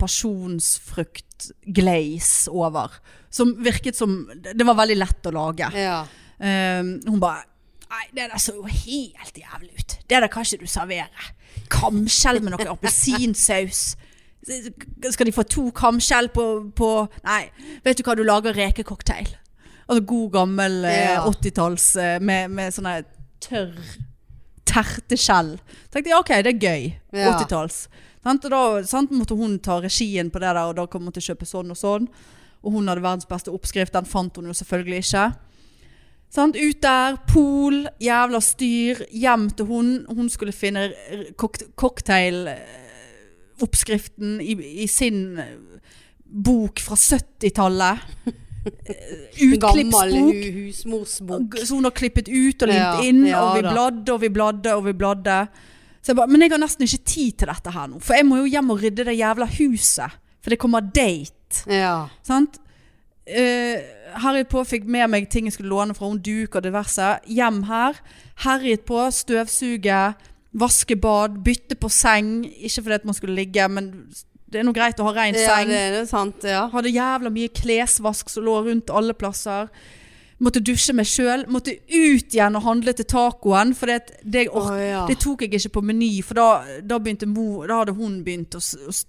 pasjonsfruktglaze over. Som virket som Det var veldig lett å lage. ja. Ehm, hun bare Nei, det der så jo helt jævlig ut. Det der kan ikke du servere. Kamskjell med noe appelsinsaus. Skal de få to kamskjell på, på Nei, vet du hva, du lager rekecocktail. Altså god gammel eh, Ja. 80-talls eh, med, med sånne tørr terteskjell. Tenkte jeg, ok, det er gøy. Ja. 80-talls. Sant? Og da sant, måtte hun ta regien på det der, og da kom hun til å kjøpe sånn og sånn. Og hun hadde verdens beste oppskrift, den fant hun jo selvfølgelig ikke. Sant? Ut der, pol, jævla styr, hjem til hun. Hun skulle finne r- kokt- cocktail-oppskriften i, i sin eh, bok fra [laughs] 70-tallet. Eh, Gammel Utklippsbok. hu husmorsbok. Og g- Så hun har klippet ut og limt Ja, inn, ja og vi da. bladde og vi bladde og vi bladde. Så jeg bare, Men jeg har nesten ikke tid til dette her nå, for jeg må jo hjem og rydde det jævla huset. For det kommer date. Ja. Sant? Eh, herjet på fikk med meg ting jeg skulle låne fra hun duk og diverse. Hjem her. Herjet på, støvsuge, vaske bad, bytte på seng. Ikke fordi at man skulle ligge, men det er nå greit å ha rein ja, seng. det er det sant. Ja. Hadde jævla mye klesvask som lå rundt alle plasser. Måtte dusje meg sjøl. Måtte ut igjen og handle til tacoen. For det, det, jeg ork- Å, ja. det tok jeg ikke på Meny, for da, da, begynte mo, da hadde hun begynt å s- å s-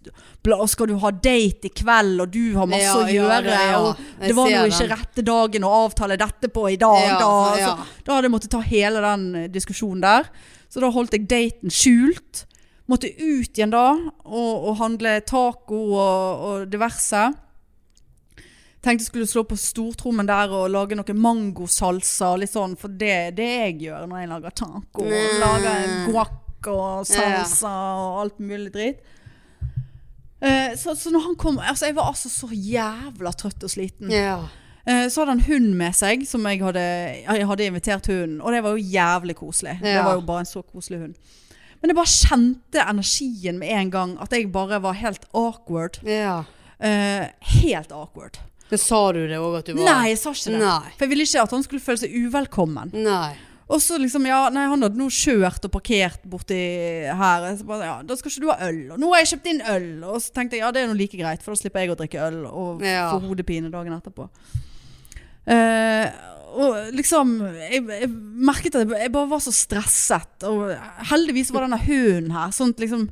bla, og Skal du ha date i kveld, og du har masse Ja, å ja, gjøre. det- ja. Og Jeg det var ser jo ikke den. rette dagen å avtale dette på i dag. Ja, da, så- ja. altså, da hadde jeg måttet ta hele den eh, diskusjonen der. Så da holdt jeg daten skjult. Måtte ut igjen da og, og handle taco og, og diverse. Tenkte jeg skulle slå på stortrommen der og lage noe mangosalsa og litt sånn, for det er det jeg gjør når jeg lager taco. Mm. Lager guac og salsa og alt mulig dritt. Eh, Så, så når han kom altså Jeg var altså så jævla trøtt og sliten. ja. Eh, Så hadde han hund med seg, som jeg hadde, jeg hadde invitert hunden. Og det var jo jævlig koselig. Det Ja. var jo bare en så koselig hund. Men jeg bare kjente energien med en gang. At jeg bare var helt awkward. ja. Eh, helt awkward. Men sa du det òg at du var Nei, jeg sa ikke det. Nei. For jeg ville ikke at han skulle føle seg uvelkommen. Nei. Og så liksom, ja, nei, han hadde nå kjørt og parkert borti her. Så bare, ja, da skal ikke du ha øl. Og nå har jeg kjøpt inn øl. Og så tenkte jeg, ja, det er nå like greit, for da slipper jeg å drikke øl og Ja. få hodepine dagen etterpå. Eh, og liksom, jeg, jeg merket at jeg, jeg bare var så stresset. Og heldigvis var denne hunden her, sånn at liksom,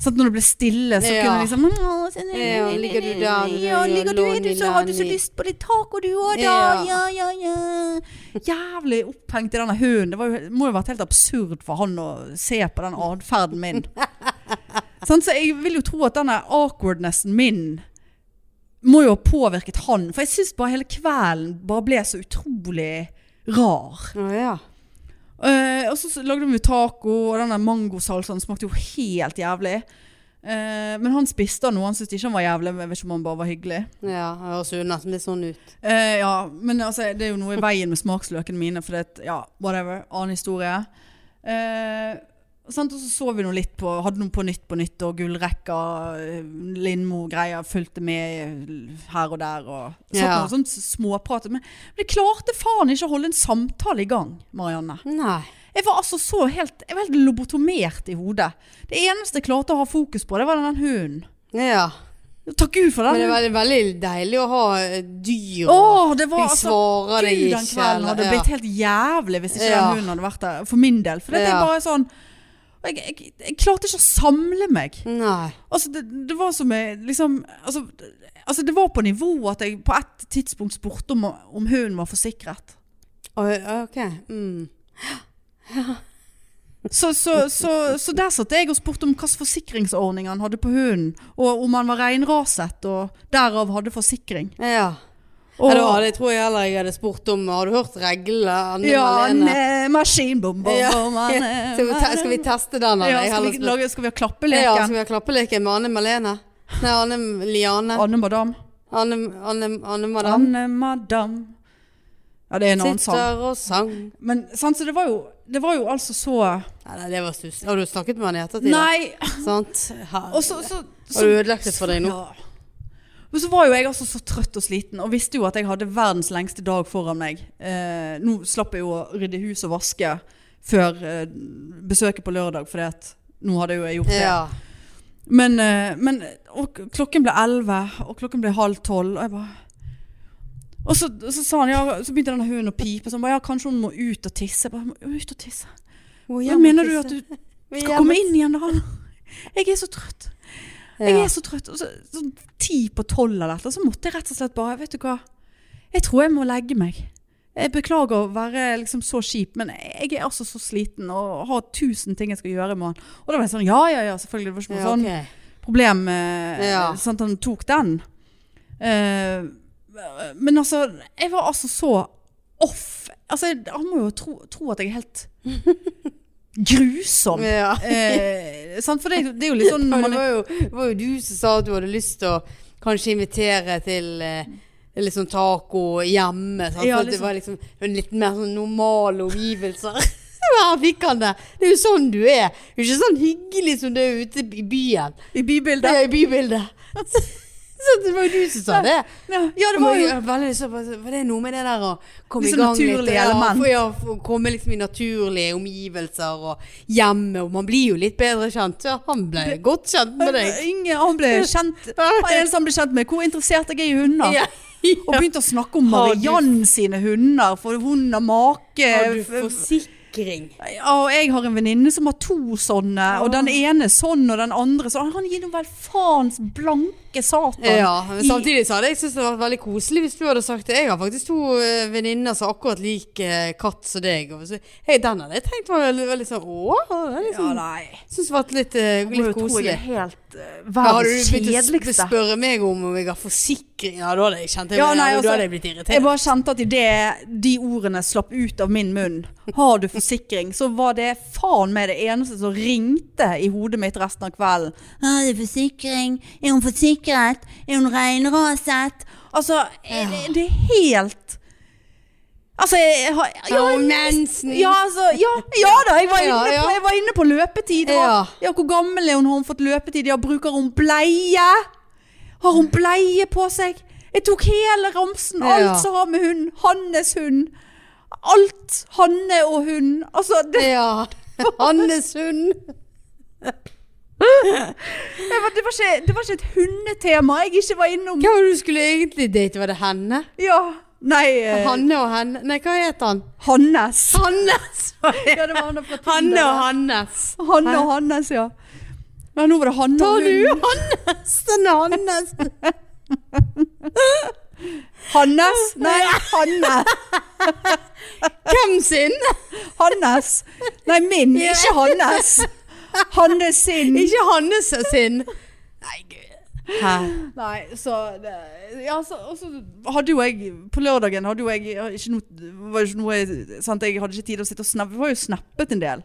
sånn at når det ble stille, så Ja. kunne jeg liksom «Åh, så- Ja, ligger du der, du, Ja, ligger du, ja, er du så, har du så lån i lyst på litt taco du òg, da? Ja. Ja, ja, ja. Jævlig opphengt i denne hunden. Det var jo, må jo ha vært helt absurd for han å se på den atferden [laughs] min. Sånn, så jeg vil jo tro at denne awkwardnessen min må jo ha påvirket han. For jeg syns bare hele kvelden bare ble så utrolig rar. Å ja. Eh, og så s- lagde vi taco, og den der mangosalsaen smakte jo helt jævlig. Eh, men han spiste den nå, han syntes ikke han var jævlig, men jeg vet ikke om han bare var hyggelig. Ja, det høres jo nesten litt sånn ut. Eh, ja, men altså, det er jo noe i veien med smaksløkene mine, for det er et, ja, whatever, annen historie. Eh, sant? Og så så vi nå litt på Hadde noe på nytt på nytt og gullrekka, eh, Lindmo-greier fulgte med her og der. Og satt Ja. noe sånt småprat. Men, men jeg klarte faen ikke å holde en samtale i gang, Marianne. Nei. Jeg var altså så helt, jeg var helt lobotomert i hodet. Det eneste jeg klarte å ha fokus på, det var den hunden. Ja. Takk Gud for Men den. det er hunden. veldig, veldig deilig å ha eh, dyr. Å, og- det var de altså svarer deg Gud, ikke. den kvelden hadde eller- blitt helt jævlig hvis ikke Ja. den hunden hadde vært der. For min del. For det er Ja. bare sånn jeg, jeg, jeg klarte ikke å samle meg. ja. Nei. Altså, det, det var som jeg liksom altså, det- altså, det var på nivå at jeg på et tidspunkt spurte om, om hunden var forsikret. Oi, Ok. Mm. Så, så, så, så der satt jeg og spurte om hvilken forsikringsordning han hadde på hunden. Og om han var reinraset og derav hadde forsikring. Ja. Og, ja det, var, det tror jeg heller jeg hadde spurt om. Har du hørt reglene? Anne ja, Malene? ne, maskinbom, bom, [laughs] Ja. bom, han, eh, Skal vi, te skal vi teste den? eller? ja, Jeg skal, heller vi spør- lage, skal vi ha Ja, klappeleken? skal vi ha klappeleken med Anne Malene? Nei, Anne Liane. Anne Madam. Anne, Anne, Anne Madame. Anne Madam. Ja, det er en annen sang. Sitter og sang. Men sant, så det var jo, det var jo altså så Nei, nei, det var stusslig. Har du snakket med henne i ettertid? Nei! Sant? Her. Og så, så, så Har du ødelagt det for deg nå? Ja. Men så var jo jeg altså så trøtt og sliten, og visste jo at jeg hadde verdens lengste dag foran meg. Eh, nå slapp jeg jo å rydde hus og vaske før eh, besøket på lørdag, fordi at nå hadde jo jeg gjort det. Ja. Men, eh, men og klokken ble elleve, og klokken ble halv tolv, og jeg bare og så, så sa han, ja, så begynte denne hunden å pipe. Så han ba, ja, kanskje hun må ut og tisse. Jeg bare, «Hun må ut og tisse. Hva mener du at du skal komme inn igjen da? Jeg er så trøtt. Jeg er så trøtt. Og så, sånn ti på tolv eller noe, så måtte jeg rett og slett bare Vet du hva, jeg tror jeg må legge meg. Jeg beklager å være liksom så kjip, men jeg er altså så sliten og har tusen ting jeg skal gjøre i morgen. Og da var jeg sånn Ja, ja, ja, selvfølgelig. Det var ikke noe ja, sånn ok. problem. Eh, Ja. Sant, han tok den. Eh, men altså, jeg var altså så off. Altså, jeg- han må jo tro, tro at jeg er [laughs] helt grusom. Ja. Eh, sant? For det, er jo- det er jo litt sånn når Men man det er var jo, det var jo du som sa at du hadde lyst til å kanskje invitere til eh, litt sånn taco hjemme. Sant? Ja, For at Det var liksom en litt mer sånn normale omgivelser. [laughs] Her fikk han det. Det er jo sånn du er. Du er ikke sånn hyggelig som du er ute i byen. i Det bybildet. er i bybildet. [laughs] Så det var jo du som sa det. Ja, ja, det var jo Ja, veldig, så, bare- var det noe med det der å komme Disse i gang litt? naturlige ja, element. for- Ja, for å komme liksom i naturlige omgivelser og hjemme. Og man blir jo litt bedre kjent. Ja, han ble godt kjent med [laughs] deg. Inge, han ble [laughs] kjent Han eneste han ble kjent med, hvor interessert jeg er i hunder. Ja. Og begynte å snakke om Har du- Mariann sine hunder, for hun har make Har du forsikring? Ja, og jeg har en venninne som har to sånne, og den ene sånn, og den andre sånn. Han gir noe vel faens blanke satan. Ja, men i- samtidig så hadde jeg syntes det hadde vært veldig koselig hvis du hadde sagt det. Jeg har faktisk to eh, venninner som akkurat liker eh, katt som deg. Og så, hei, den hadde jeg tenkt var veldig, veldig sånn Å, det er Ja, liksom, nei. synes det var litt, eh, Må jo litt tro jeg koselig. er helt uh, Ja, Hadde verdens du begynt å sp- kjedeligste. spørre meg om om jeg har forsikring Ja, da hadde jeg kjent det. Ja, nei, da altså, hadde jeg blitt Jeg irritert. bare kjente at idet de ordene slapp ut av min munn, har du forsikring, så var det faen meg det eneste som ringte i hodet mitt resten av kvelden. Har du forsikring? Er hun forsikret? Er hun reinraset? Altså, er det, det er helt Altså, jeg har Ja, jeg- mensen. ja, altså, ja, ja da, jeg var, Ja, inne ja. På, jeg var inne på løpetid. Og, Ja. ja. hvor gammel er hun? Har hun fått løpetid? Ja, bruker hun bleie? Har hun bleie på seg? Jeg tok hele ramsen, Ja. alt som har med hund. Hannes hund. Alt. Hanne og hund. Altså, det, Ja. Hannes hund. det, var, det, var ikke, det var ikke et hundetema jeg ikke var innom. Hva var det du skulle egentlig date? Var det henne? Ja. Nei, eh, Hanne og henne Nei, hva het han? Hannes. Hannes! [laughs] Ja, det var han fra Tinder. Hanne og Hannes. Hanne og Hannes, ja. Ja, nå var det Hanne Tar og du hund. Hannes? Den er Hannes. Hannes? Nei, Hanne. Hvem [laughs] sin? Hannes. Nei, min, Ja. ikke Hannes. Hannes sin. Ikke Hannes sin. Nei, gud. Hæ? Nei, så det- Ja, så og så hadde jo jeg På lørdagen hadde jo jeg ikke noe, var jo ikke noe sant? Jeg hadde ikke tid å sitte og snappe. Vi var jo snappet en del.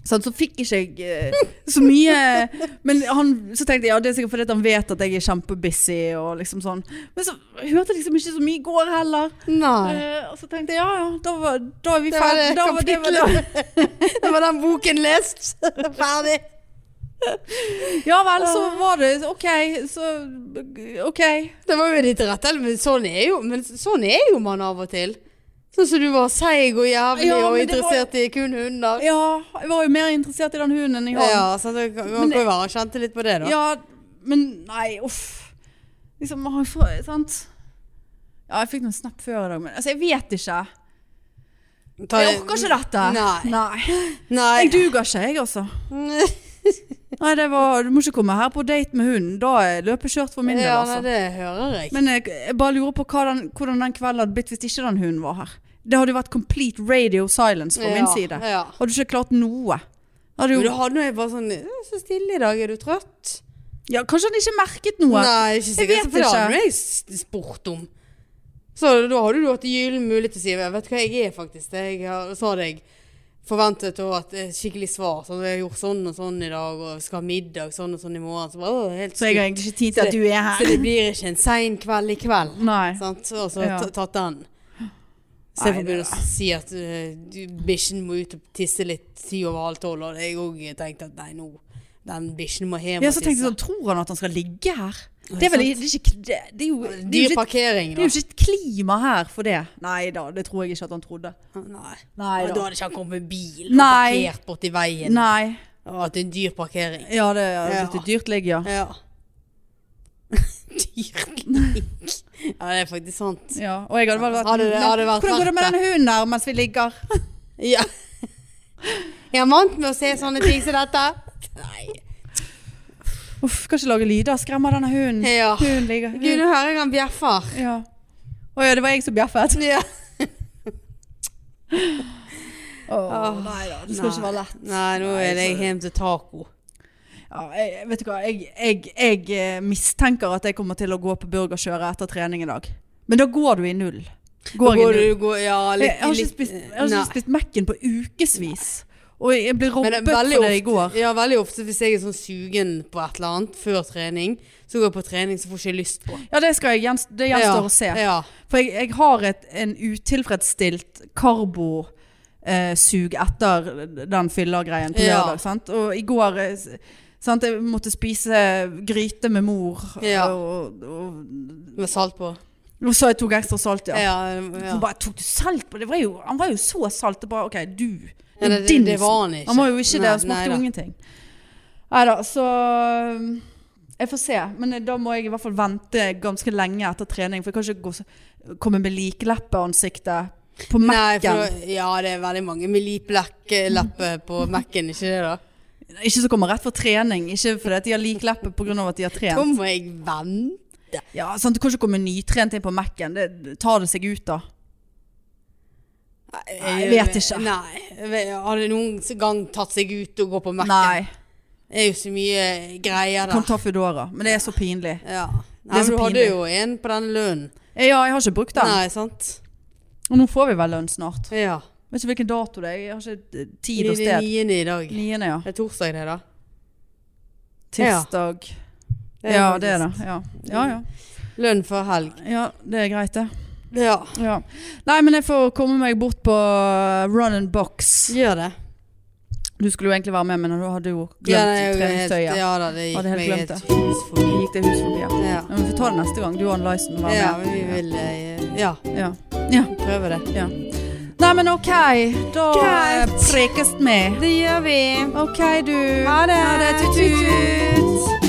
Sant, Sånn, så fikk ikke jeg eh, så mye Men han, så tenkte jeg ja, det er sikkert fordi at han vet at jeg er kjempebusy og liksom sånn. Men så hørte jeg liksom ikke så mye i går heller. Nei. Eh, og så tenkte jeg ja ja, da var, da er vi Det var ferdig. det Da var det var det. [laughs] Da var den boken lest. [laughs] Ferdig. Ja vel, så var det OK, så OK. Det var jo ditt rett, eller? Men sånn er jo, men sånn er jo man av og til. Sånn som du var seig og jævlig Ja, og men det var- interessert i kun hunder. Ja, jeg var jo mer interessert i den hunden enn i han. Ja, så det kan kan Men det- jo være han kjente litt på det, da. Ja, men nei, uff. Liksom, han får- sant? Ja, jeg fikk noen snap før i dag, men altså, jeg vet ikke. Ta Jeg det- orker ikke dette. Nei. nei. Nei. [laughs] Jeg duger ikke, jeg altså. Nei, det var, du må ikke komme her på date med hunden. Da er løpet kjørt for min del, Ja, nei, altså. det hører jeg. Men jeg, jeg bare lurer på hva den, hvordan den kvelden hadde blitt hvis ikke den hunden var her. Det hadde jo vært complete radio silence fra ja, min side. Ja. Hadde ikke klart noe. Hadde Men du jo, hadde jo bare sånn «Å, Så stille i dag, er du trøtt? ja, kanskje han ikke merket noe. Nei, ikke sikkert. vet for det ikke. hadde jeg s- spurt om. Så da hadde du hatt gyllen mulighet til å si Vet du hva, jeg er faktisk det. Jeg har, så hadde jeg forventet å ha et eh, skikkelig svar. Sånn, jeg har gjort sånn og sånn i dag, og skal ha middag sånn og sånn i morgen. Så, bare, «Å, helt Så jeg har sykt». egentlig ikke tid til at du er så her. det blir ikke en sein kveld i kveld. [laughs] Nei. Sant? Og så Ja. ta- tatt den. Så Nei, jeg får det begynne å si at eh, du, bikkjen må ut og tisse litt ti over halv tolv. Og jeg òg tenkte at nei, nå Den bikkjen må hjem Ja, og så tenkte jeg sånn, tror han at han skal ligge her? Det er, det vel, sant? det er, ikke, det, det er jo det er Dyr jo ikke, parkering, det da. er jo ikke et klima her for det. Nei da, det tror jeg ikke at han trodde. Nei. Nei Ja, da da. hadde ikke han kommet med bil og Nei. parkert borti veien. Nei. Og at det er en dyr parkering. Ja, det er Ja. litt dyrt ligg, ja. Ja. Dyrkning. Ja, det er faktisk sant. ja. Og jeg hadde vel vært, Hadde det- hadde det vært Hvordan går det med verdt denne hunden her mens vi ligger? Ja. Jeg er vant med å se sånne ting som dette. Nei. Uff, kan ikke lage lyder. Skremmer denne hunden. Ja. Hunden ligger. Gud, nå hører jeg han bjeffer. Ja. Å ja, det var jeg som bjeffet. Ja. Åh, nei da, det skal ikke være lett. Nei, nå er det hjem til taco. Ja, jeg, vet du hva, jeg, jeg, jeg eh, mistenker at jeg kommer til å gå på burgerkjøret etter trening i dag. Men da går du i null. Går, Går jeg i null. du, går, ja, litt, Jeg har ikke litt- spist, jeg har Nei. ikke spist Mac-en på ukevis. Og jeg ble Men robbet det er for veldig det i ofte, går. ja, veldig ofte hvis jeg er sånn sugen på et eller annet før trening, så går jeg på trening, så får jeg ikke lyst på. Ja, det, skal jeg, gjenst- det gjenstår å se. Ja. For jeg, jeg har et, en utilfredsstilt karbo eh, sug etter den fyllergreien på Ja. lørdag. Sant? Og i går eh, s- sant, jeg måtte spise gryte med mor. Ja. Og, og, Med salt på. og så jeg tok ekstra salt, ja. Ja, Hun ja. bare tok du salt på det? var jo, Han var jo så salt. Det bare, ok, du. Ja, det er det- din det var han smak. ikke. Han var jo ikke det. Nei, Han smakte nei jo da. ingenting. Nei da, så um, Jeg får se. Men eh, da må jeg i hvert fall vente ganske lenge etter trening. For jeg kan ikke gå, så- komme med likeleppeansiktet på Nei, for Mac-en. da- ja, det er veldig mange med lipleppe på Mac-en, ikke det da? Ikke som kommer rett fra trening. Ikke fordi at de har likleppe pga. at de har Da trent. må jeg vente. Ja, sant? Du kan ikke komme nytrent inn på Mac-en. Det det tar det seg ut, da. Nei, jeg vet ikke. Nei, jeg vet- har det noen gang tatt seg ut og gå på Mac-en? Ah. Nei. Det er jo så mye greier Kan der. ta Foodora. Men det er så pinlig. Ja. Det Nei, er men så du hadde pinlig. jo en på den lønnen. Ja, jeg har ikke brukt den. Nei, sant? Og nå får vi vel lønn snart. Ja. Vet ikke hvilken dato det er. Jeg har ikke eh, Det tid og er sted. niende i dag. Niende, ja. Det er torsdag det da. Tirsdag. er Ja, det er faktisk det. Ja. Ja, ja. Lønn for helg. ja, det er greit, det. Ja, Ja. Nei, men jeg får komme meg bort på eh, run and box. gjør det. Du skulle jo egentlig være med, men du hadde jo Ja, glemt nei, jeg er helt- treningstøyet. Ja da, det Hadde gikk helt meg glemt helt det. hus forbi. Gikk det hus forbi, ja. Ja. Men vi får ta det neste gang. Du og Lyson må Ja, være men vi med. vil eh, Ja, Ja. prøve det. Nei, men OK. Da eh, Greit. prekes vi. Det gjør vi. OK, du. Ha det. Tut-tut.